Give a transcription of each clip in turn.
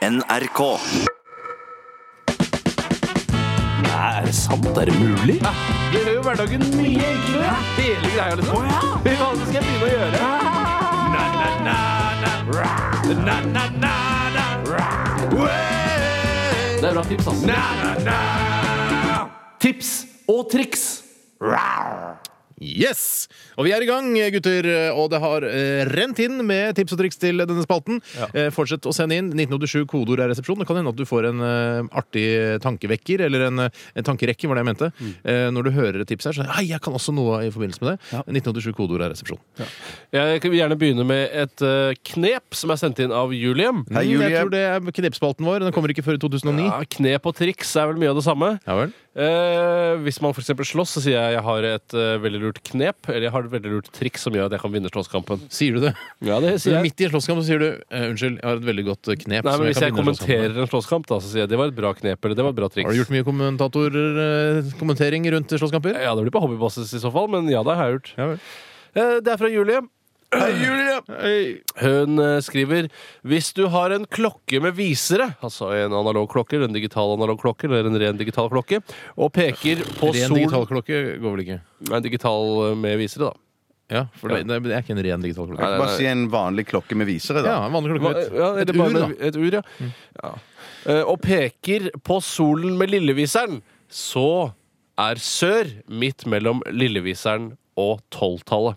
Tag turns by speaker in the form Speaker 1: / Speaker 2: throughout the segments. Speaker 1: NRK.
Speaker 2: Nei, er det sant? Er det mulig?
Speaker 3: Det gjør jo hverdagen mye enklere. Hele greia, liksom. Hva skal jeg begynne å gjøre? Na, na, na, na. Na, na, na, na. Way.
Speaker 2: Det er bra tips, ass.
Speaker 3: Na, na, na. Tips og triks.
Speaker 4: Yes! Og vi er i gang, gutter. Og det har eh, rent inn med tips og triks til denne spalten. Eh, fortsett å sende inn. 1987 kodeord er resepsjon. Det kan hende at du får en eh, artig tankevekker, eller en, eh, en tankerekke, var det jeg mente.
Speaker 3: Mm.
Speaker 4: Eh, når du hører et tips her, så Hei, jeg kan også noe i forbindelse med det. 1987 kodeord er resepsjon.
Speaker 3: Jeg vil gjerne begynne med et eh, knep som er sendt inn av Julium.
Speaker 4: Mm, Jeg tror det er knepspalten vår. Den kommer ikke før i 2009.
Speaker 3: Ja, knep og triks er vel mye av det samme.
Speaker 4: Ja vel.
Speaker 3: Eh, hvis man for eksempel slåss, så sier jeg jeg har et eh, veldig lurt knep eller jeg har et veldig lurt triks som gjør at jeg kan vinne slåsskampen.
Speaker 4: Sier du det?
Speaker 3: Ja, det
Speaker 4: Så Midt i en slåsskamp så sier du eh, 'Unnskyld, jeg har et veldig godt eh, knep'.
Speaker 3: Nei,
Speaker 4: som
Speaker 3: men Hvis jeg
Speaker 4: kan vinne slåsskampen med».
Speaker 3: kommenterer en slåsskamp, da, så sier jeg det var et bra knep eller det var et bra triks.
Speaker 4: Har du gjort mye kommentatorkommentering rundt slåsskamper?
Speaker 3: Ja, det blir på hobbybasis i så fall, men ja, det har jeg gjort.
Speaker 4: Ja vel.
Speaker 3: Eh, Det er fra Julie.
Speaker 4: Hei.
Speaker 3: Hun eh, skriver Hvis du har en klokke med visere, altså en analog klokke, eller en digital analog klokke, eller en ren digital klokke, og peker på
Speaker 4: Ren
Speaker 3: sol
Speaker 4: digital klokke går vel ikke?
Speaker 3: Nei, digital eh, med visere, da.
Speaker 4: Ja, for det, det er ikke en ren digital klokke.
Speaker 3: Nei, nei,
Speaker 5: Bare si en vanlig klokke med visere, da.
Speaker 4: Ja, en vanlig klokke.
Speaker 3: Hva-
Speaker 4: med et-
Speaker 3: ja, eller
Speaker 4: Et
Speaker 3: bare
Speaker 4: ur, da.
Speaker 3: med- Et ur, ja. ja. Eh, Og peker på solen med lilleviseren, så er sør midt mellom lilleviseren og tolvtallet.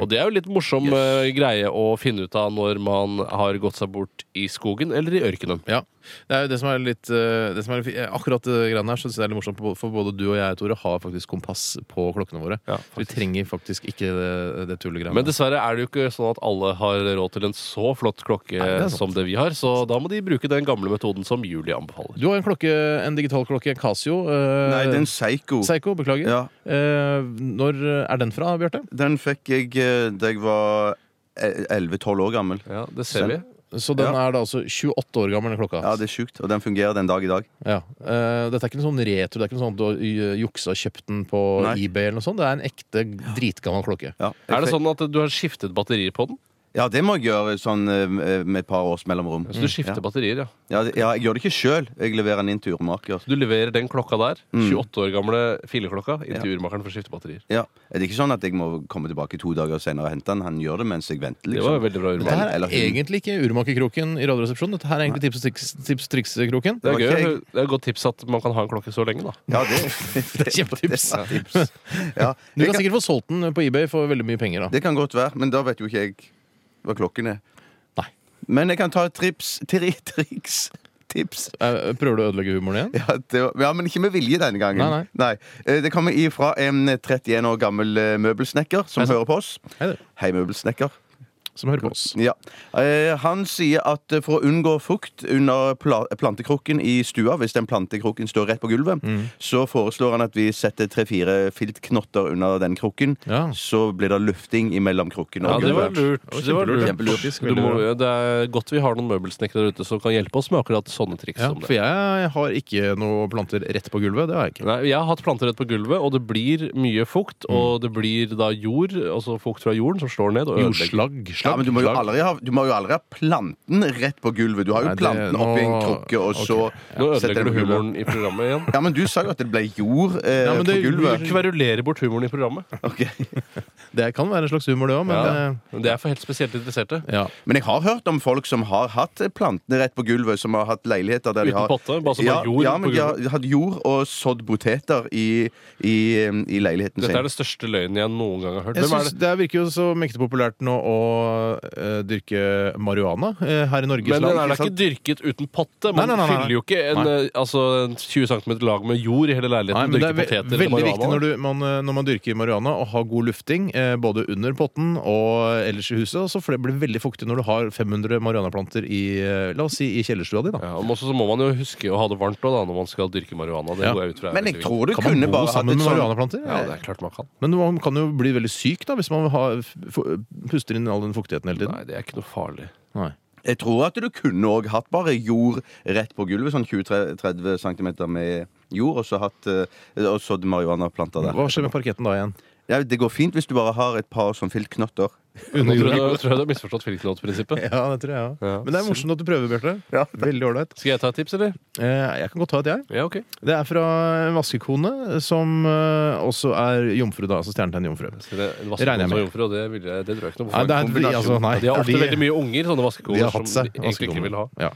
Speaker 3: Og det er jo litt morsom eh, greie å finne ut av når man har gått seg bort i skogen eller i ørkenen.
Speaker 4: Ja. Det er jo det som er litt eh, det som er, litt fi- eh, Akkurat det greiene her syns jeg er litt morsomt, for både du og jeg, Tore, har faktisk kompass på klokkene våre.
Speaker 3: Ja,
Speaker 4: vi trenger faktisk ikke det, det tullegreiene.
Speaker 3: Men dessverre er det jo ikke sånn at alle har råd til en så flott klokke
Speaker 4: Nei, det er sant.
Speaker 3: som det vi har, så da må de bruke den gamle metoden som Julie anbefaler.
Speaker 4: du har en klokke, en digital klokke, Casio. eh,
Speaker 5: Nei, det er en Psycho.
Speaker 4: Seiko, beklager.
Speaker 5: Ja.
Speaker 4: Eh, når er den fra, Bjarte?
Speaker 5: Den fikk jeg eh, da jeg var eh, 11-12 år gammel.
Speaker 3: Ja, det ser vi.
Speaker 4: Så den
Speaker 5: Ja.
Speaker 4: er da altså 28 år gammel, den klokka.
Speaker 5: Ja, det er sjukt. Og den fungerer den dag i dag.
Speaker 4: Ja. Eh, dette er ikke noen sånn retro, det er ikke noe sånn at du har eh, juksa og kjøpt den på
Speaker 5: Nei.
Speaker 4: eBay eller noe sånt. Det er en ekte dritgammel klokke.
Speaker 5: Ja, jeg
Speaker 3: Er det
Speaker 5: fikk-
Speaker 3: sånn at du har skiftet batterier på den?
Speaker 5: ja det må jeg gjøre sånn eh, med et par års mellomrom.
Speaker 3: Så du skifter
Speaker 5: ja.
Speaker 3: batterier, ja.
Speaker 5: Ja, det- ja, jeg gjør det ikke sjøl. Jeg leverer den inn til urmaker.
Speaker 3: Du leverer den klokka der,
Speaker 5: Mm.
Speaker 3: 28 år gamle fileklokka, inn til urmakeren for å skifte batterier.
Speaker 5: Ja. Er det ikke sånn at jeg må komme tilbake to dager senere og hente den? Han gjør det mens jeg venter,
Speaker 3: Det var
Speaker 5: liksom.
Speaker 3: jo veldig bra
Speaker 4: Dette
Speaker 3: urmaker.
Speaker 4: her er
Speaker 5: Eller- eller hun.
Speaker 4: egentlig ikke Urmakerkroken i Radioresepsjonen. Dette her er egentlig Tips og triks- eh, tips- triksekroken.
Speaker 3: Det
Speaker 5: var
Speaker 3: er gøy.
Speaker 5: ikke
Speaker 3: Det
Speaker 5: jeg.
Speaker 3: er et godt tips at man kan ha en klokke så lenge, da.
Speaker 5: Ja, det,
Speaker 4: Det er kjempetips.
Speaker 5: det var tips. Ja. Det,
Speaker 4: Du kan
Speaker 5: kan,
Speaker 4: sikkert få solgt den på eBay for veldig mye penger. da
Speaker 5: det kan godt være, men da vet jo ikke jeg hva klokken er.
Speaker 4: Nei.
Speaker 5: Men jeg kan ta et trips, tri, triks tips.
Speaker 4: Eh, Prøver du å ødelegge humoren igjen?
Speaker 5: Ja, det var, ja, men ikke med vilje denne gangen.
Speaker 4: Nei, nei.
Speaker 5: Eh, Det kommer ifra en 31 år gammel eh, møbelsnekker som hører på oss.
Speaker 4: Hei, du,
Speaker 5: Hei, møbelsnekker.
Speaker 4: som hører på oss.
Speaker 5: Ja. Eh, Han sier at eh, for å unngå fukt under pla plantekrukken i stua, hvis den plantekrukken står rett på gulvet,
Speaker 4: Mm.
Speaker 5: så foreslår han at vi setter tre-fire filtknotter under den krukken.
Speaker 4: Ja.
Speaker 5: Så blir det lufting imellom krukken
Speaker 3: Ja,
Speaker 5: og
Speaker 3: det var
Speaker 5: gulvet.
Speaker 3: lurt.
Speaker 4: Det var
Speaker 3: Det var
Speaker 4: kjempelurt.
Speaker 3: lurt.
Speaker 5: Kjempelurt.
Speaker 4: Faktisk
Speaker 3: Du
Speaker 4: veldig
Speaker 3: må,
Speaker 4: bra.
Speaker 3: det er godt vi har noen møbelsnekkere der ute som kan hjelpe oss med akkurat sånne triks
Speaker 4: Ja,
Speaker 3: som
Speaker 4: for
Speaker 3: det.
Speaker 4: jeg har ikke noe planter rett på gulvet. Det har jeg ikke.
Speaker 3: Nei, jeg har hatt planter rett på gulvet, og det blir mye fukt.
Speaker 5: Mm.
Speaker 3: Og det blir da jord, altså fukt fra jorden, som slår ned og
Speaker 4: Jo,
Speaker 3: ødelegger.
Speaker 4: slagg.
Speaker 5: Ja,
Speaker 4: slagg
Speaker 5: men du må, jo
Speaker 4: slagg.
Speaker 5: aldri ha, du må jo aldri ha planten rett på gulvet. Du har jo
Speaker 4: Nei, det-
Speaker 5: planten oppi en
Speaker 4: nå-
Speaker 5: krukke, og
Speaker 4: ok.
Speaker 5: så
Speaker 3: Nå ødelegger
Speaker 5: setter den
Speaker 3: du
Speaker 5: på gulvet.
Speaker 3: humoren i programmet igjen.
Speaker 5: Ja, men du sa jo at det ble jord eh,
Speaker 4: Ja, men
Speaker 5: på
Speaker 4: det-
Speaker 5: gulvet.
Speaker 3: Du kverulerer bort humoren i programmet.
Speaker 5: Ok.
Speaker 4: Det kan være en slags humor, det òg, men
Speaker 3: Ja.
Speaker 4: eh,
Speaker 3: Men det er for helt spesielt interesserte.
Speaker 4: ja.
Speaker 5: Men jeg har hørt om folk som har hatt plantene rett på gulvet, som har hatt leiligheter der
Speaker 3: Uten
Speaker 5: de har
Speaker 3: potte, bare som
Speaker 5: ja,
Speaker 3: har jord
Speaker 5: ja,
Speaker 3: på
Speaker 5: men de har de har hatt jord og sådd poteter i, i, eh, i leiligheten
Speaker 3: Dette er
Speaker 5: sin.
Speaker 3: det største løgnen jeg noen gang har hørt.
Speaker 4: Jeg
Speaker 3: Hvem er
Speaker 4: synes
Speaker 3: det?
Speaker 4: det virker jo så mektig populært nå å eh, dyrke marihuana eh, her i Norges
Speaker 3: Men den er
Speaker 4: land.
Speaker 3: da ikke dyrket uten potte? Man
Speaker 4: Nei, nei, nei, nei.
Speaker 3: fyller jo ikke en,
Speaker 4: Nei.
Speaker 3: eh, altså, en 20 cm lag med jord i hele
Speaker 4: Nei,
Speaker 3: leiligheten.
Speaker 4: men det
Speaker 3: dyrker
Speaker 4: er ve
Speaker 3: poteter
Speaker 4: veldig
Speaker 3: eller
Speaker 4: viktig
Speaker 3: marihuana.
Speaker 4: når, du, man, eh, når man dyrker marihuana å ha god lufting, eh, både under potten og ellers i huset. Også, for det blir veldig fuktig når du har 500 marihuanaplanter i, eh, la oss si, i kjellerstua di. Da.
Speaker 3: Ja, men også så må man jo huske å ha det varmt også, da, når man skal dyrke marihuana. Det
Speaker 4: Ja.
Speaker 3: går jeg ut fra. er
Speaker 5: Men jeg
Speaker 3: veldig
Speaker 5: tror du
Speaker 4: Kan
Speaker 5: kunne
Speaker 4: man bo
Speaker 5: bare hatt
Speaker 4: sammen
Speaker 5: et
Speaker 4: med
Speaker 5: sånn
Speaker 4: marihuanaplanter?
Speaker 3: viktig. Ja, det er klart man kan.
Speaker 4: Men man kan jo bli veldig syk da, hvis man har, f- f- puster inn all den fuktigheten hele tiden.
Speaker 3: Nei, det er ikke noe farlig.
Speaker 4: Nei.
Speaker 5: Jeg tror at du kunne òg hatt bare jord rett på gulvet, sånn 20-30 cm med jord, og så hatt eh, og sådd marihuanaplanter der.
Speaker 4: Hva skjer med parketten da igjen?
Speaker 5: Eh, Ja, det går fint hvis du bare har et par sånn filtknotter.
Speaker 3: Nå tror jeg du- tror jeg du har misforstått filknotprinsippet.
Speaker 4: Ja, det tror jeg òg.
Speaker 3: Ja.
Speaker 4: Men det er morsomt at du prøver, Bjarte.
Speaker 5: Ja.
Speaker 4: Veldig ålreit.
Speaker 3: Skal jeg ta et tips, eller?
Speaker 4: Eh, Jeg kan godt ta et, jeg.
Speaker 3: Ja, ok.
Speaker 4: Det er fra en vaskekone, som eh, også er jomfru, da. Altså stjernetegn jomfru.
Speaker 3: Så det- En
Speaker 4: Det regner jeg
Speaker 3: vaskekoner
Speaker 4: med.
Speaker 3: og jomfru, og det, vil jeg, det tror jeg ikke noe på.
Speaker 4: Nei, det er, de, altså, nei,
Speaker 3: Ja, de har ofte
Speaker 4: fordi-
Speaker 3: veldig mye unger, sånne vaskekoner,
Speaker 4: de har hatt
Speaker 3: som
Speaker 4: seg
Speaker 3: de egentlig ikke vil ha.
Speaker 4: Ja.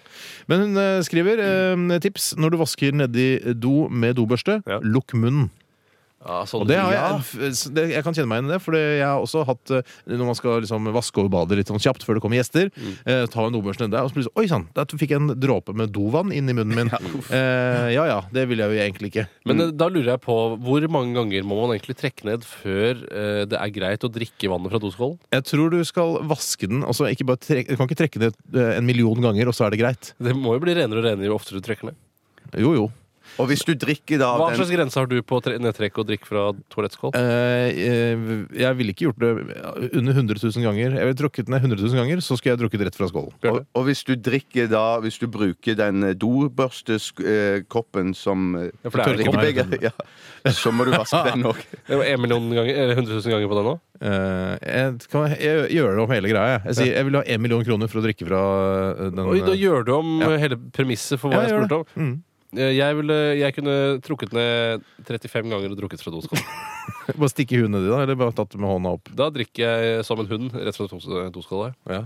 Speaker 4: Men hun eh, skriver eh, tips når du vasker nedi do med dobørste,
Speaker 3: Ja.
Speaker 4: lukk munnen.
Speaker 3: Ja, sånne
Speaker 4: Og det har
Speaker 3: ting.
Speaker 4: jeg, f- det, jeg kan kjenne meg igjen i det, for jeg har også hatt eh, Når man skal liksom vaske over badet litt sånn kjapt før det kommer gjester,
Speaker 3: Mm.
Speaker 4: eh, ta en dobørste nedi der, og så plutselig Oi sann, der fikk jeg en dråpe med dovann inn i munnen min. Eh, ja ja, det vil jeg jo egentlig ikke.
Speaker 3: Men eh, da lurer jeg på, hvor mange ganger må man egentlig trekke ned før eh, det er greit å drikke vannet fra doskålen?
Speaker 4: Jeg tror du skal vaske den. Altså, ikke bare trek, du kan ikke trekke ned eh, en million ganger, og så er det greit.
Speaker 3: Det må jo bli renere og renere jo oftere du trekker ned.
Speaker 4: Jo jo.
Speaker 5: Og hvis du drikker da
Speaker 3: Hva
Speaker 5: den-
Speaker 3: slags grense har du på tre nedtrekk og drikk fra toalettskål?
Speaker 4: Eh, eh, jeg ville ikke gjort det under 100 000 ganger. Jeg ville drukket ned 100 000 ganger, så skulle jeg drukket rett fra skålen.
Speaker 3: Bjarte?
Speaker 5: Og, og hvis du drikker da Hvis du bruker den eh, dobørstekoppen som eh,
Speaker 3: Ja, for det er en
Speaker 5: drikkebeger, ja, så må du vaske den òg.
Speaker 3: Det var en million ganger, eller 100 000 ganger på den nå?
Speaker 4: Eh, jeg, kan, jeg gjør det om hele greia. jeg. Jeg, sier, jeg vil ha 1 million kroner for å drikke fra eh, den
Speaker 3: Oi, da
Speaker 4: eh,
Speaker 3: gjør du om
Speaker 4: Ja.
Speaker 3: eh, hele premisset for
Speaker 4: Ja,
Speaker 3: hva jeg
Speaker 4: gjør
Speaker 3: spurte om.
Speaker 4: Mm.
Speaker 3: Eh, Jeg, ville, jeg kunne trukket ned 35 ganger og drukket fra doskålen.
Speaker 4: Bare stikke huet nedi, da? Eller bare tatt det med hånda opp?
Speaker 3: Da drikker jeg som en hund rett fra dos- doskåla.
Speaker 4: Ja,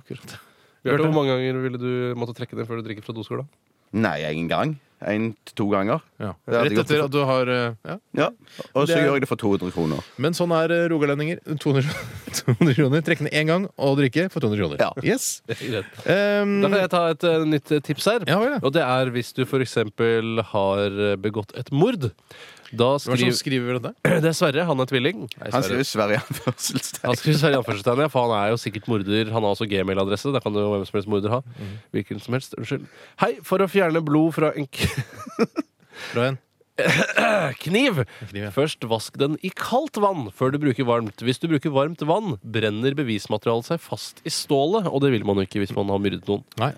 Speaker 4: akkurat
Speaker 3: Bjarte,
Speaker 4: Bjarte?
Speaker 3: hvor mange ganger ville du måtte trekke ned før du drikker fra doskåla?
Speaker 5: Nei, én gang. Én til to ganger.
Speaker 4: ja.
Speaker 5: Det hadde jeg
Speaker 4: Rett
Speaker 5: gjort
Speaker 4: etter
Speaker 5: for-
Speaker 4: at du har eh, ja.
Speaker 5: Ja. Og så
Speaker 4: Det er-
Speaker 5: gjør jeg det for 200 kroner.
Speaker 4: Men sånn er eh, rogalendinger. 200, 200 kroner. Trekke ned én gang og drikke for 200 kroner.
Speaker 5: Ja.
Speaker 4: Yes.
Speaker 3: Da
Speaker 4: Um,
Speaker 3: kan jeg ta et eh, nytt eh, tips her.
Speaker 4: ja vel, ja.
Speaker 3: Og det er hvis du f.eks. har eh, begått et mord. Da
Speaker 4: Hva er det sånn
Speaker 3: skriver
Speaker 4: som skriver dette?
Speaker 3: Det er Sverre. Han er tvilling.
Speaker 5: Han skriver Sverige anførselstegn.
Speaker 3: Han skriver Sverre i anførselstegn, ja, for han er jo sikkert morder. Han har også gmail-adresse. Da kan jo hvem som helst morder ha.
Speaker 4: Mhm.
Speaker 3: Hvilken som helst. Unnskyld. Hei, for å fjerne blod fra en k
Speaker 4: Fra en
Speaker 3: kniv.
Speaker 4: kniv, ja.
Speaker 3: Først vask den i kaldt vann før du bruker varmt. Hvis du bruker varmt vann, brenner bevismaterialet seg fast i stålet, og det vil man jo ikke hvis man har myrdet noen.
Speaker 4: Nei.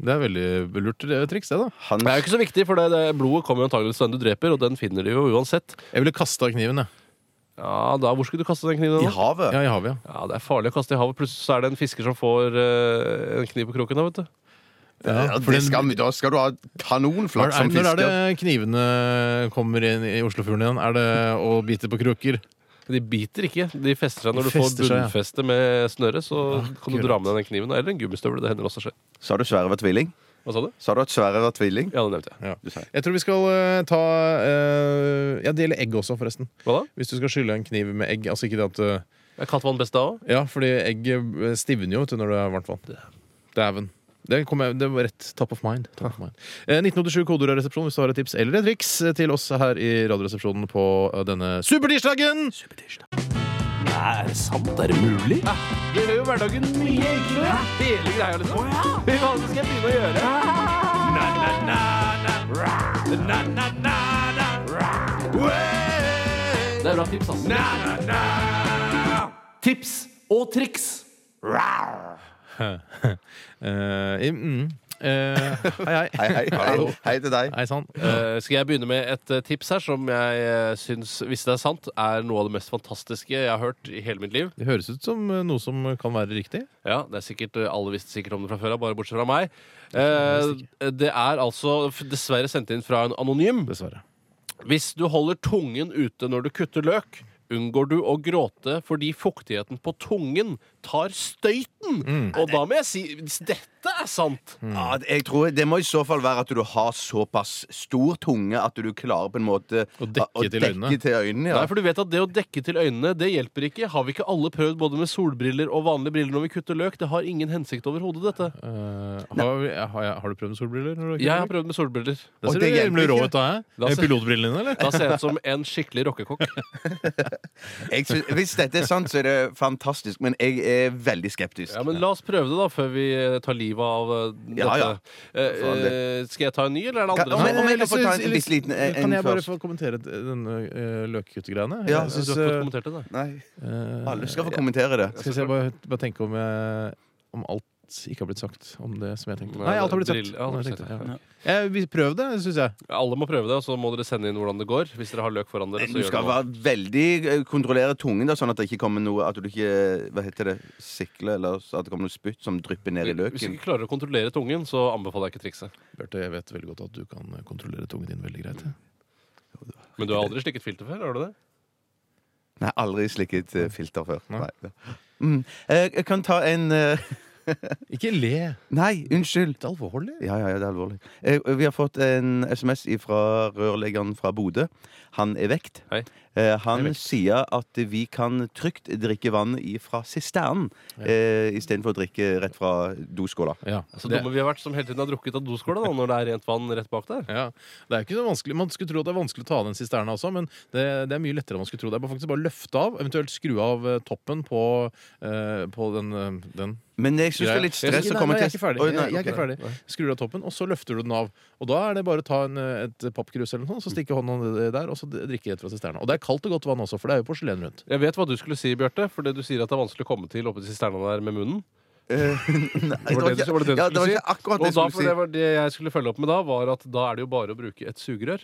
Speaker 4: Det er veldig lurt eh, triks, det, da.
Speaker 5: Hans,
Speaker 3: Det er jo ikke så viktig, for det, det, blodet kommer jo antakeligvis til den du dreper, og den finner de jo uansett.
Speaker 4: Jeg ville kasta kniven, jeg.
Speaker 3: Ja, da Hvor skulle du kaste den kniven?
Speaker 5: I
Speaker 3: da?
Speaker 5: havet.
Speaker 4: Ja, i havet, ja.
Speaker 3: Ja, Det er farlig å kaste i havet. Plutselig så er det en fisker som får eh, en kniv på kroken. da, vet du.
Speaker 5: Ja,
Speaker 4: for
Speaker 5: det
Speaker 4: den-
Speaker 5: skal, da skal du ha
Speaker 4: Er,
Speaker 5: kanonflaks
Speaker 4: er,
Speaker 5: som
Speaker 4: når er
Speaker 5: fisker.
Speaker 4: det knivene kommer inn i Oslofjorden igjen? Er det å bite på krukker?
Speaker 3: De biter ikke. De fester seg Ah, når
Speaker 4: De
Speaker 3: du får
Speaker 4: fester seg, ja.
Speaker 3: bunnfeste med snøret. Så kan du
Speaker 4: Akkurat.
Speaker 3: dra med deg den kniven. Eller en gummistøvel. Det hender også skjer.
Speaker 5: Sa du Sverre var tvilling?
Speaker 3: Hva sa du?
Speaker 5: Sa du at Sverre var tvilling?
Speaker 3: Ja, det nevnte jeg.
Speaker 4: Jeg tror vi skal eh, ta eh, Ja, det gjelder egg også, forresten.
Speaker 3: Hva da?
Speaker 4: Hvis du skal skylle en kniv med egg. Altså ikke det at eh,
Speaker 3: Er kattvann best da òg?
Speaker 4: Ja, fordi egg eh, stivner jo vet du, når det er varmt vann. Dæven. Det, kom jeg, det var rett top of mind. Top of mind. Eh, 1987 kodeord av resepsjon hvis du har et tips eller et triks eh, til oss her i Radioresepsjonen på eh, denne supertirsdagen!
Speaker 2: Nei, er det sant? Er det mulig?
Speaker 3: Det gjør jo hverdagen mye enklere. Hele greia, liksom. Hva skal jeg begynne å gjøre? Ah. Det er bra tips, ass. Tips og triks.
Speaker 4: Eh, i- mm, eh, hei, hei.
Speaker 5: Hei, hei, hei, hei til deg.
Speaker 4: Hei sann. Eh,
Speaker 3: skal jeg begynne med et eh, tips her som jeg uh, syns, hvis det er sant, er noe av det mest fantastiske jeg har hørt i hele mitt liv?
Speaker 4: Det høres ut som eh, noe som kan være riktig.
Speaker 3: Ja, det er sikkert, eh, Alle visste sikkert om det fra før av, bare bortsett fra meg. Eh, det er altså f- dessverre sendt inn fra en anonym.
Speaker 4: Dessverre.
Speaker 3: Hvis du holder tungen ute når du kutter løk, unngår du å gråte fordi fuktigheten på tungen tar støyten. Og da må jeg si dette er sant!
Speaker 5: Mm. Ja, jeg tror Det må i så fall være at du har såpass stor tunge at du klarer på en måte
Speaker 4: Å dekke til øynene.
Speaker 5: dekke til øynene, ja.
Speaker 3: Nei, for du vet at Det å dekke til øynene det hjelper ikke. Har vi ikke alle prøvd både med solbriller og vanlige briller når vi kutter løk? Det har ingen hensikt overhodet, dette.
Speaker 4: Eh, har, vi- eh, har, jeg- har du prøvd med solbriller? når du har
Speaker 3: Jeg har
Speaker 4: kjørt?
Speaker 3: prøvd med solbriller.
Speaker 4: Da
Speaker 5: Og
Speaker 4: ser
Speaker 5: det
Speaker 4: du rimelig
Speaker 5: hjelper
Speaker 4: rå
Speaker 5: ikke.
Speaker 4: ut, da.
Speaker 3: Da
Speaker 4: jeg.
Speaker 3: ser-
Speaker 4: Pilotbrillene dine, eller?
Speaker 3: Da ser jeg ut som en skikkelig rockekokk.
Speaker 5: Jeg synes, hvis dette er sant, så er det fantastisk, men jeg er veldig skeptisk.
Speaker 3: Ja, men La oss prøve det, da, før vi eh, tar livet av eh, dette.
Speaker 5: Ja, ja.
Speaker 3: Eh, eh, skal jeg ta en ny, eller er det
Speaker 5: Kan-
Speaker 3: andre?
Speaker 5: om
Speaker 3: som-
Speaker 5: jeg- om jeg kan få ta en
Speaker 4: Nei, jeg
Speaker 5: bitte
Speaker 4: synes-
Speaker 5: liten, eh,
Speaker 4: Kan
Speaker 5: en
Speaker 4: jeg bare
Speaker 5: først?
Speaker 4: få kommentere d- denne uh,
Speaker 5: Ja,
Speaker 4: løkkuttegreiene? jeg
Speaker 3: Du har
Speaker 4: synes,
Speaker 3: ikke fått kommentert det, da.
Speaker 5: Nei,
Speaker 4: eh,
Speaker 5: alle skal få kommentere det.
Speaker 4: Skal vi se, bare, bare tenke om, jeg, om alt ikke har blitt sagt om det som jeg tenkte.
Speaker 3: Nei,
Speaker 4: Nei, alt har blitt
Speaker 3: drill-
Speaker 4: sagt.
Speaker 3: alt har
Speaker 4: Alt jeg
Speaker 3: blitt
Speaker 4: tenkte,
Speaker 3: sagt,
Speaker 4: ja. Eh, vi prøv det, syns jeg.
Speaker 3: Alle må prøve det, og så må dere sende inn hvordan det går. Hvis dere har løk foran dere,
Speaker 5: Men
Speaker 3: så
Speaker 5: du
Speaker 3: gjør
Speaker 5: skal
Speaker 3: det.
Speaker 5: være veldig eh, kontrollere tungen, da, sånn at det ikke kommer noe At du ikke Hva heter det? Sikle? Eller så at det kommer noe spytt som drypper ned i
Speaker 3: Hvis du
Speaker 5: løken.
Speaker 3: ikke klarer å kontrollere tungen, så anbefaler jeg ikke trikset.
Speaker 4: Bjarte, jeg vet veldig godt at du kan kontrollere tungen din veldig greit.
Speaker 3: Men du har aldri slikket filter før? har du det?
Speaker 5: Nei, aldri slikket eh, filter før.
Speaker 4: Nei.
Speaker 5: Nei. Mm. Eh, Jeg kan ta en eh,
Speaker 4: Ikke le.
Speaker 5: Nei, unnskyld.
Speaker 4: Det er alvorlig.
Speaker 5: Ja, ja, ja, det er alvorlig. Eh, Vi har fått en SMS fra rørleggeren fra Bodø. Han er vekt.
Speaker 3: Hei.
Speaker 5: Eh, Han sier at vi kan trygt drikke vann fra sisternen eh, istedenfor å drikke rett fra doskåla.
Speaker 4: Ja,
Speaker 3: Så
Speaker 4: det,
Speaker 3: dumme Altså, vi har vært som hele tiden har drukket av doskåla da, når det er rent vann rett bak der.
Speaker 4: ja. det er ikke så vanskelig. Man skulle tro at det er vanskelig å ta av den sisterna også, men det, det er mye lettere enn man skulle tro. Det er bare faktisk bare å løfte av, eventuelt skru av eh, toppen på, eh, på den, eh, den.
Speaker 5: Men jeg syns det er litt
Speaker 4: Jeg-
Speaker 5: stress
Speaker 4: nei,
Speaker 5: å
Speaker 4: nei,
Speaker 5: komme til
Speaker 4: Jeg er ikke ferdig.
Speaker 5: Oi,
Speaker 4: Jeg-
Speaker 5: nei,
Speaker 4: jeg er ikke
Speaker 5: ok.
Speaker 4: ferdig. Skrur av toppen, og så løfter du den av. Og da er det bare å ta en, eh, et pappkrus eller noe sånt, så stikke hånda der, og så drikke rett fra sisterna. Og det er kaldt og godt vann også, for det er jo porselen rundt.
Speaker 3: Jeg vet hva du skulle si, Bjarte, fordi du sier at det er vanskelig å komme til oppe til sisterna der med munnen.
Speaker 5: Eh, Nei,
Speaker 3: Var det det du- var det det du
Speaker 5: ja, det var
Speaker 3: skulle
Speaker 5: ikke akkurat
Speaker 3: Og
Speaker 5: det
Speaker 3: da,
Speaker 5: jeg
Speaker 3: for det,
Speaker 5: skulle si.
Speaker 3: var det jeg skulle følge opp med da, var at da er det jo bare å bruke et sugerør.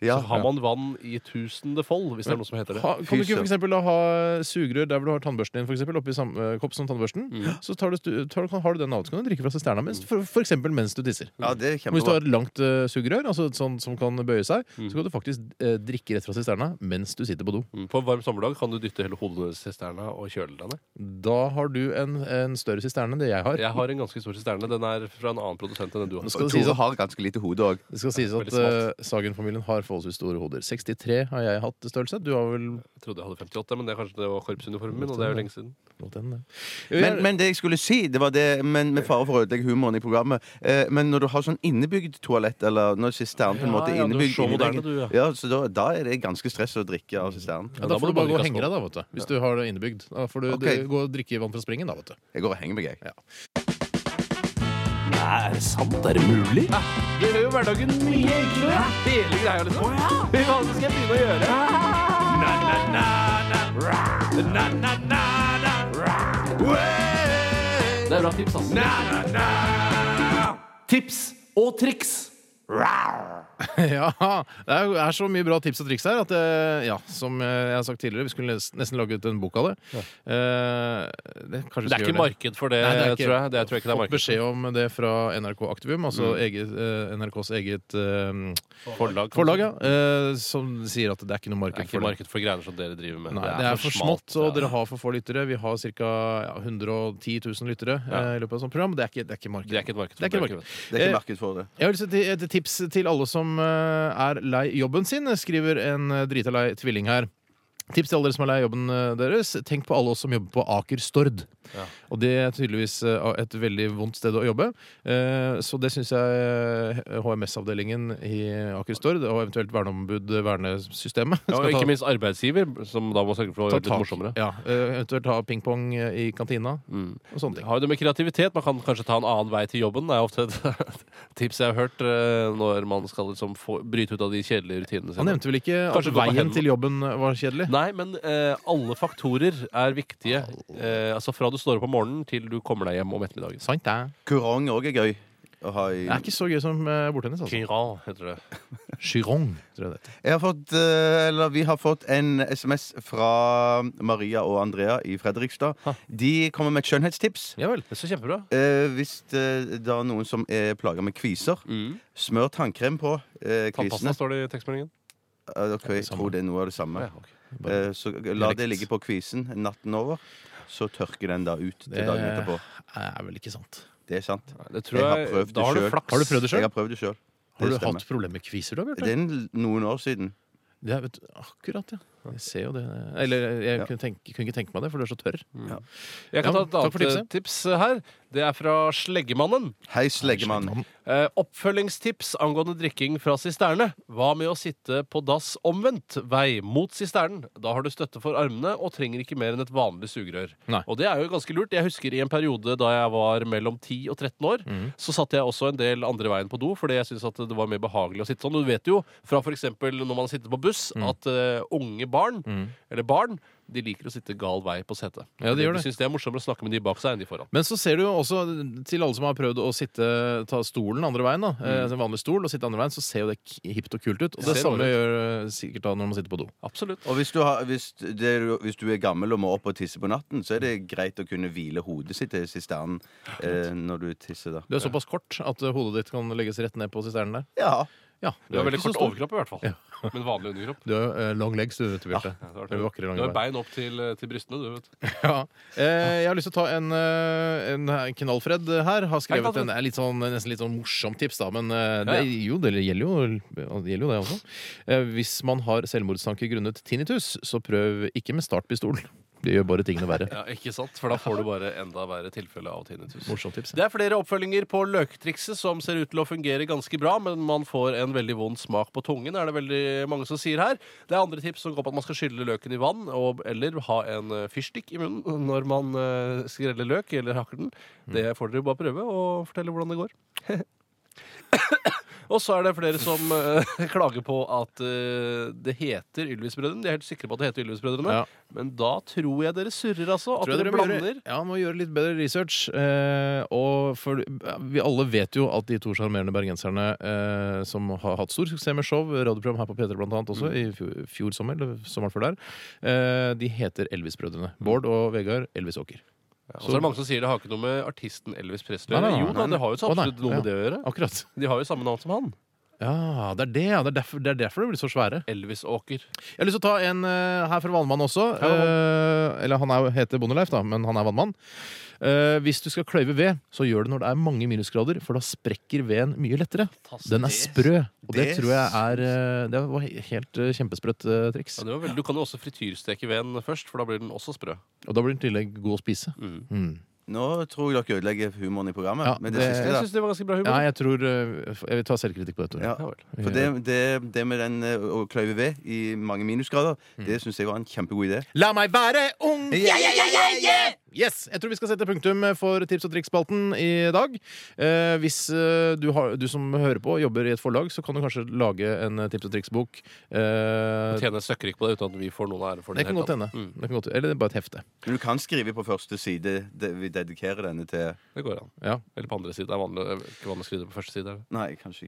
Speaker 5: Ja,
Speaker 3: Så har man vann i tusende fold, hvis det er noe som heter det.
Speaker 4: Ha, kan du
Speaker 5: Fy
Speaker 4: ikke for eksempel, da ha sugerør der hvor du har tannbørsten din, for eksempel, oppi samme kopp som tannbørsten? Så tar du, stu- tar, kan- har du den av, så kan du drikke fra sisterna mens, for, for eksempel mens du tisser.
Speaker 5: ja, det er
Speaker 4: Men Hvis du
Speaker 5: kjempebra.
Speaker 4: har et langt eh, sugerør, altså et sånt som kan bøye seg, så kan du faktisk eh, drikke rett fra sisterna mens du sitter på do.
Speaker 3: Mm, På en varm sommerdag kan du dytte hele hodet ned i sisterna og kjøle deg ned.
Speaker 4: Da har du en, en større sisterne enn det jeg har.
Speaker 3: Jeg har en ganske stor sisterne. Den er fra en annen produsent enn den du
Speaker 4: Nå
Speaker 3: har.
Speaker 4: skal
Speaker 5: Og
Speaker 4: det sies
Speaker 5: Tore
Speaker 4: at,
Speaker 5: har ganske lite hode òg.
Speaker 4: det skal sies at
Speaker 3: Veldig
Speaker 4: eh, Sagen-familien har forholdsvis store hoder. 63 har jeg hatt størrelse. Du har vel
Speaker 3: Jeg trodde jeg hadde 58, men det er kanskje det var korpsuniformen min, og det er jo lenge siden.
Speaker 4: nådd den? eh. det.
Speaker 5: Men, men det jeg skulle si, det var det Men med fare for å ødelegge humoren i programmet eh, Men når du har sånn innebygd toalett, eller når sisternen på en
Speaker 3: Ja,
Speaker 5: måte
Speaker 3: ja,
Speaker 5: er
Speaker 3: du er
Speaker 5: innebygd
Speaker 3: så moderne, du, ja.
Speaker 5: innebygd- ja, så da, da er det ganske stress å drikke av sisternen.
Speaker 4: ja,
Speaker 3: da
Speaker 4: da
Speaker 3: må
Speaker 4: får
Speaker 3: du
Speaker 4: du
Speaker 3: bare
Speaker 4: bare gå og
Speaker 3: kaste
Speaker 4: henge
Speaker 3: opp.
Speaker 4: deg, da, vet du. Hvis du har det innebygd. Da får du
Speaker 5: Ok.
Speaker 4: du gå og drikke vann fra springen, da, vet du.
Speaker 5: Jeg går og henger meg, jeg.
Speaker 2: Nei, er det sant? Er det mulig?
Speaker 3: Det gjør jo hverdagen mye enklere. Hele greia, liksom. Hva skal jeg begynne å gjøre? Det er bra tips, ass.
Speaker 2: Tips og triks.
Speaker 4: Ja, det er, er så mye bra tips og triks her at eh, ja, som eh, jeg har sagt tidligere, vi skulle nes- nesten lage ut en bok av det. Eh, det, kanskje vi
Speaker 3: Det er
Speaker 4: skal
Speaker 3: ikke
Speaker 4: gjøre
Speaker 3: marked for det,
Speaker 4: Nei, det er
Speaker 3: tror jeg. Det tror jeg ikke det er Mm.
Speaker 4: Fått
Speaker 3: marked.
Speaker 4: beskjed om det fra NRK Aktivum, altså eget, eh, NRKs eget eh,
Speaker 3: Forlag, kanskje?
Speaker 4: forlag, ja, eh, som sier at det er ikke noe
Speaker 3: Det er
Speaker 4: marked
Speaker 3: ikke
Speaker 4: for det.
Speaker 3: marked for greier som dere driver med.
Speaker 4: Nei, det er for smått, og dere har for få lyttere. Vi har ca. Ja, 110 000 lyttere eh, i løpet av et sånt program. Det er ikke, det er ikke marked.
Speaker 3: Det er ikke et marked. for
Speaker 4: Det er ikke
Speaker 3: dere,
Speaker 4: et marked.
Speaker 5: Det er
Speaker 4: Eh,
Speaker 5: ikke marked for det.
Speaker 4: Jeg har lyst til et tips til alle som eh, er lei jobben sin, skriver en eh, drita lei tvilling her. Tips til alle dere som er lei jobben eh, deres. Tenk på alle oss som jobber på Aker Stord.
Speaker 3: Ja.
Speaker 4: Og det er tydeligvis eh, et veldig vondt sted å jobbe. Eh, Så det syns jeg eh, HMS-avdelingen i Aker Stord, og eventuelt verneombud, vernesystemet,
Speaker 3: Ja,
Speaker 4: skal
Speaker 3: og
Speaker 4: ta,
Speaker 3: ikke minst arbeidsgiver, som da må sørge for å
Speaker 4: ta
Speaker 3: gjøre det litt
Speaker 4: tak.
Speaker 3: morsommere. Mm.
Speaker 4: Ja, eh, eventuelt ha pingpong eh, i kantina og sånne
Speaker 3: Det
Speaker 4: ting.
Speaker 3: har jo det med kreativitet. Man kan kanskje ta en annen vei til jobben. Det er ofte et tips jeg har hørt eh, når man skal liksom få, bryte ut av de kjedelige rutinene
Speaker 4: Han
Speaker 3: sine.
Speaker 4: nevnte vel ikke
Speaker 3: Kanskje gå
Speaker 4: at
Speaker 3: på
Speaker 4: veien
Speaker 3: hendene.
Speaker 4: til jobben var kjedelig?
Speaker 3: Nei, men eh, alle faktorer er viktige. Eh, altså Fra du står opp om morgenen til du kommer deg hjem om ettermiddagen.
Speaker 4: Sant det.
Speaker 5: Kurong òg er gøy å ha i
Speaker 4: Det er ikke så gøy som eh, bordtennis, altså.
Speaker 3: Kyran, heter det.
Speaker 4: Chiron, tror jeg det heter.
Speaker 5: Jeg har fått, eh, eller Vi har fått en SMS fra Maria og Andrea i Fredrikstad. De kommer med et skjønnhetstips.
Speaker 4: Ja vel.
Speaker 3: Det er så kjempebra.
Speaker 5: Eh, hvis det da er noen som er plaga med kviser,
Speaker 3: Mm.
Speaker 5: smør tannkrem på eh,
Speaker 3: Tannpasta
Speaker 5: kvisene.
Speaker 3: står det i tekstmeldingen.
Speaker 5: Eh, ok, jeg tror det er noe av det samme.
Speaker 3: Ja, ok.
Speaker 5: Eh, så la det ligge på kvisen natten over. Så tørker den da ut til
Speaker 4: Det-
Speaker 5: dagen etterpå.
Speaker 4: Det er vel ikke sant.
Speaker 5: Det er sant.
Speaker 3: Det tror
Speaker 5: Jeg har
Speaker 3: jeg, da
Speaker 5: prøvd det
Speaker 3: har du
Speaker 5: selv.
Speaker 3: flaks.
Speaker 4: Har du prøvd det
Speaker 5: Jeg
Speaker 4: sjøl?
Speaker 5: har prøvd det sjøl.
Speaker 4: Har du
Speaker 5: det stemmer.
Speaker 4: hatt problemer med kviser, du har
Speaker 5: Det
Speaker 4: Bjarte?
Speaker 5: er en- noen år siden.
Speaker 4: Det er, vet, du, akkurat, ja. Jeg ser jo det. Eller jeg
Speaker 5: Ja.
Speaker 4: kunne, tenke, kunne ikke tenke meg det, for du er så tørr.
Speaker 3: Jeg kan ta
Speaker 4: Ja, takk
Speaker 3: et
Speaker 4: for
Speaker 3: annet eh, tips her. Det er fra Sleggemannen.
Speaker 5: Hei, sleggemann.
Speaker 3: Eh, oppfølgingstips angående drikking fra sisterne. Hva med å sitte på dass omvendt vei mot sisternen? Da har du støtte for armene og trenger ikke mer enn et vanlig sugerør.
Speaker 4: Nei.
Speaker 3: Og det er jo ganske lurt. Jeg husker i en periode da jeg var mellom 10 og 13 år,
Speaker 4: Mhm.
Speaker 3: så satt jeg også en del andre veien på do, fordi jeg syntes at det var mer behagelig å sitte
Speaker 4: Mhm. Mm.
Speaker 3: sånn. Du vet jo fra f.eks. når man sitter på buss, at eh, unge barn, eller barn, de liker å sitte gal vei på setet.
Speaker 4: Ja, de gjør det.
Speaker 3: De syns det er morsommere å snakke med de bak seg enn de foran.
Speaker 4: Men så ser du jo også, til alle som har prøvd å sitte, ta stolen andre veien, da, eh, en vanlig stol, og sitte andre veien, så ser jo det k- hipt og kult ut. Og
Speaker 3: Ja. Mm.
Speaker 4: det
Speaker 3: Ser
Speaker 4: samme
Speaker 3: ålreit.
Speaker 4: gjør eh, sikkert da når man sitter på do.
Speaker 3: Absolutt.
Speaker 5: Og hvis du, har, hvis, det, er jo- hvis du er gammel og må opp og tisse på natten, så er det greit å kunne hvile hodet sitt i sisternen eh, når du tisser, da.
Speaker 4: Du er såpass kort at eh, hodet ditt kan legges rett ned på sisternen der.
Speaker 5: Ja.
Speaker 4: Ja,
Speaker 3: Du har veldig
Speaker 4: ikke så
Speaker 3: kort
Speaker 4: stor.
Speaker 3: overkropp i hvert fall. Men vanlig underkropp.
Speaker 4: Du har eh, long legs, du, vet du, Bjarte.
Speaker 3: Det har
Speaker 4: Det er
Speaker 3: vært-
Speaker 4: vakre
Speaker 3: Du
Speaker 4: lange
Speaker 3: har
Speaker 4: bein.
Speaker 3: bein opp til, til brystene, du, vet du.
Speaker 4: Ja. Eh, jeg har lyst til å ta en, eh, en her- knallfred her. Har skrevet
Speaker 3: Knallfred.
Speaker 4: en er litt sånn, nesten litt sånn morsom tips, da. Men eh,
Speaker 3: Ja,
Speaker 4: det,
Speaker 3: ja.
Speaker 4: jo, det gjelder jo, det gjelder jo det også. Eh, hvis man har selvmordstanker grunnet tinnitus, så prøv ikke med startpistol. Det gjør bare tingene verre.
Speaker 3: Ja, ikke sant? For da får du bare enda verre tilfelle av tinnitus.
Speaker 4: Morsomt tips.
Speaker 3: Det er flere oppfølginger på løktrikset som ser ut til å fungere ganske bra, men man får en veldig vond smak på tungen, er det veldig mange som sier her. Det er andre tips som går på at man skal skylle løken i vann, og, eller ha en eh, fyrstikk i munnen når man eh, skreller løk eller hakker den. Det får dere jo bare prøve og fortelle hvordan det går. Og så er det flere som eh, klager på at eh, det heter Ylvis-brødrene. De er helt sikre på at det heter Ylvis-brødrene.
Speaker 4: Ja.
Speaker 3: Men da tror jeg dere surrer, altså. At
Speaker 4: Tror jeg
Speaker 3: dere
Speaker 4: dere må gjøre-
Speaker 3: blander.
Speaker 4: Ja, må gjøre litt bedre research. Eh, og for, ja, vi alle vet jo at de to sjarmerende bergenserne eh, som har hatt stor suksess med show, radioprogram her på P3 blant annet
Speaker 3: Mm.
Speaker 4: også, i fjor, fjor sommer, eller sommeren før der, eh, de heter Elvis-brødrene. Bård og Vegard Elvis-Åker.
Speaker 3: Og så er det mange som sier det har ikke noe med artisten Elvis Presley å
Speaker 4: Nei,
Speaker 3: gjøre.
Speaker 4: nei, nei,
Speaker 3: Jo da, det har jo så
Speaker 4: Å, nei.
Speaker 3: absolutt noe med det å gjøre.
Speaker 4: Akkurat.
Speaker 3: De har jo samme navn som han.
Speaker 4: Ja, det er det, ja. Det er derfor, det, er derfor det blir så svære.
Speaker 3: Elvis Åker.
Speaker 4: Jeg har lyst til å ta en eh, her fra Vannmann også.
Speaker 3: Hei,
Speaker 4: Eh, eller han er, jo- heter Bondeleif, da, men han er vannmann. Eh, hvis du skal kløyve ved, så gjør det når det er mange minusgrader, for da sprekker veden mye lettere. Den er sprø, og det,
Speaker 5: det
Speaker 4: tror jeg er eh, Det var he- helt eh, kjempesprøtt eh, triks.
Speaker 3: Ja, det var veldig. Du kan jo også frityrsteke veden først, for da blir den også sprø.
Speaker 4: Og da blir den i tillegg god å spise.
Speaker 5: Mm.
Speaker 4: Mm.
Speaker 5: Nå tror jeg dere ødelegger humoren i programmet
Speaker 4: Ja,
Speaker 5: med det,
Speaker 4: det-
Speaker 5: siste.
Speaker 3: Jeg
Speaker 5: da
Speaker 3: syns det var ganske bra humor.
Speaker 4: Nei, jeg tror eh, Jeg vil ta selvkritikk på dette.
Speaker 5: Ja.
Speaker 3: Ja vel.
Speaker 5: For det, det, det med den eh, å kløyve ved i mange minusgrader, det syns jeg var en kjempegod idé.
Speaker 4: La meg være ung! Yes, Jeg tror vi skal sette punktum for tips og triks-spalten i dag. Eh, hvis eh, du, har, du som hører på, jobber i et forlag, så kan du kanskje lage en eh, tips og triks-bok. Eh,
Speaker 3: Tjener søkkrik på det uten at vi får noen ære for
Speaker 4: det
Speaker 3: det.
Speaker 4: kan
Speaker 3: i
Speaker 4: godt
Speaker 3: det hele
Speaker 4: hende.
Speaker 3: tatt. Mm,
Speaker 4: Det kan godt- Eller bare et hefte.
Speaker 5: Men du kan skrive på første side. Det, vi dedikerer denne til
Speaker 3: det går an.
Speaker 4: Ja.
Speaker 3: Eller på andre side. Det er vanlig, ikke vanlig å skrive det på første side. er det?
Speaker 5: Nei, kanskje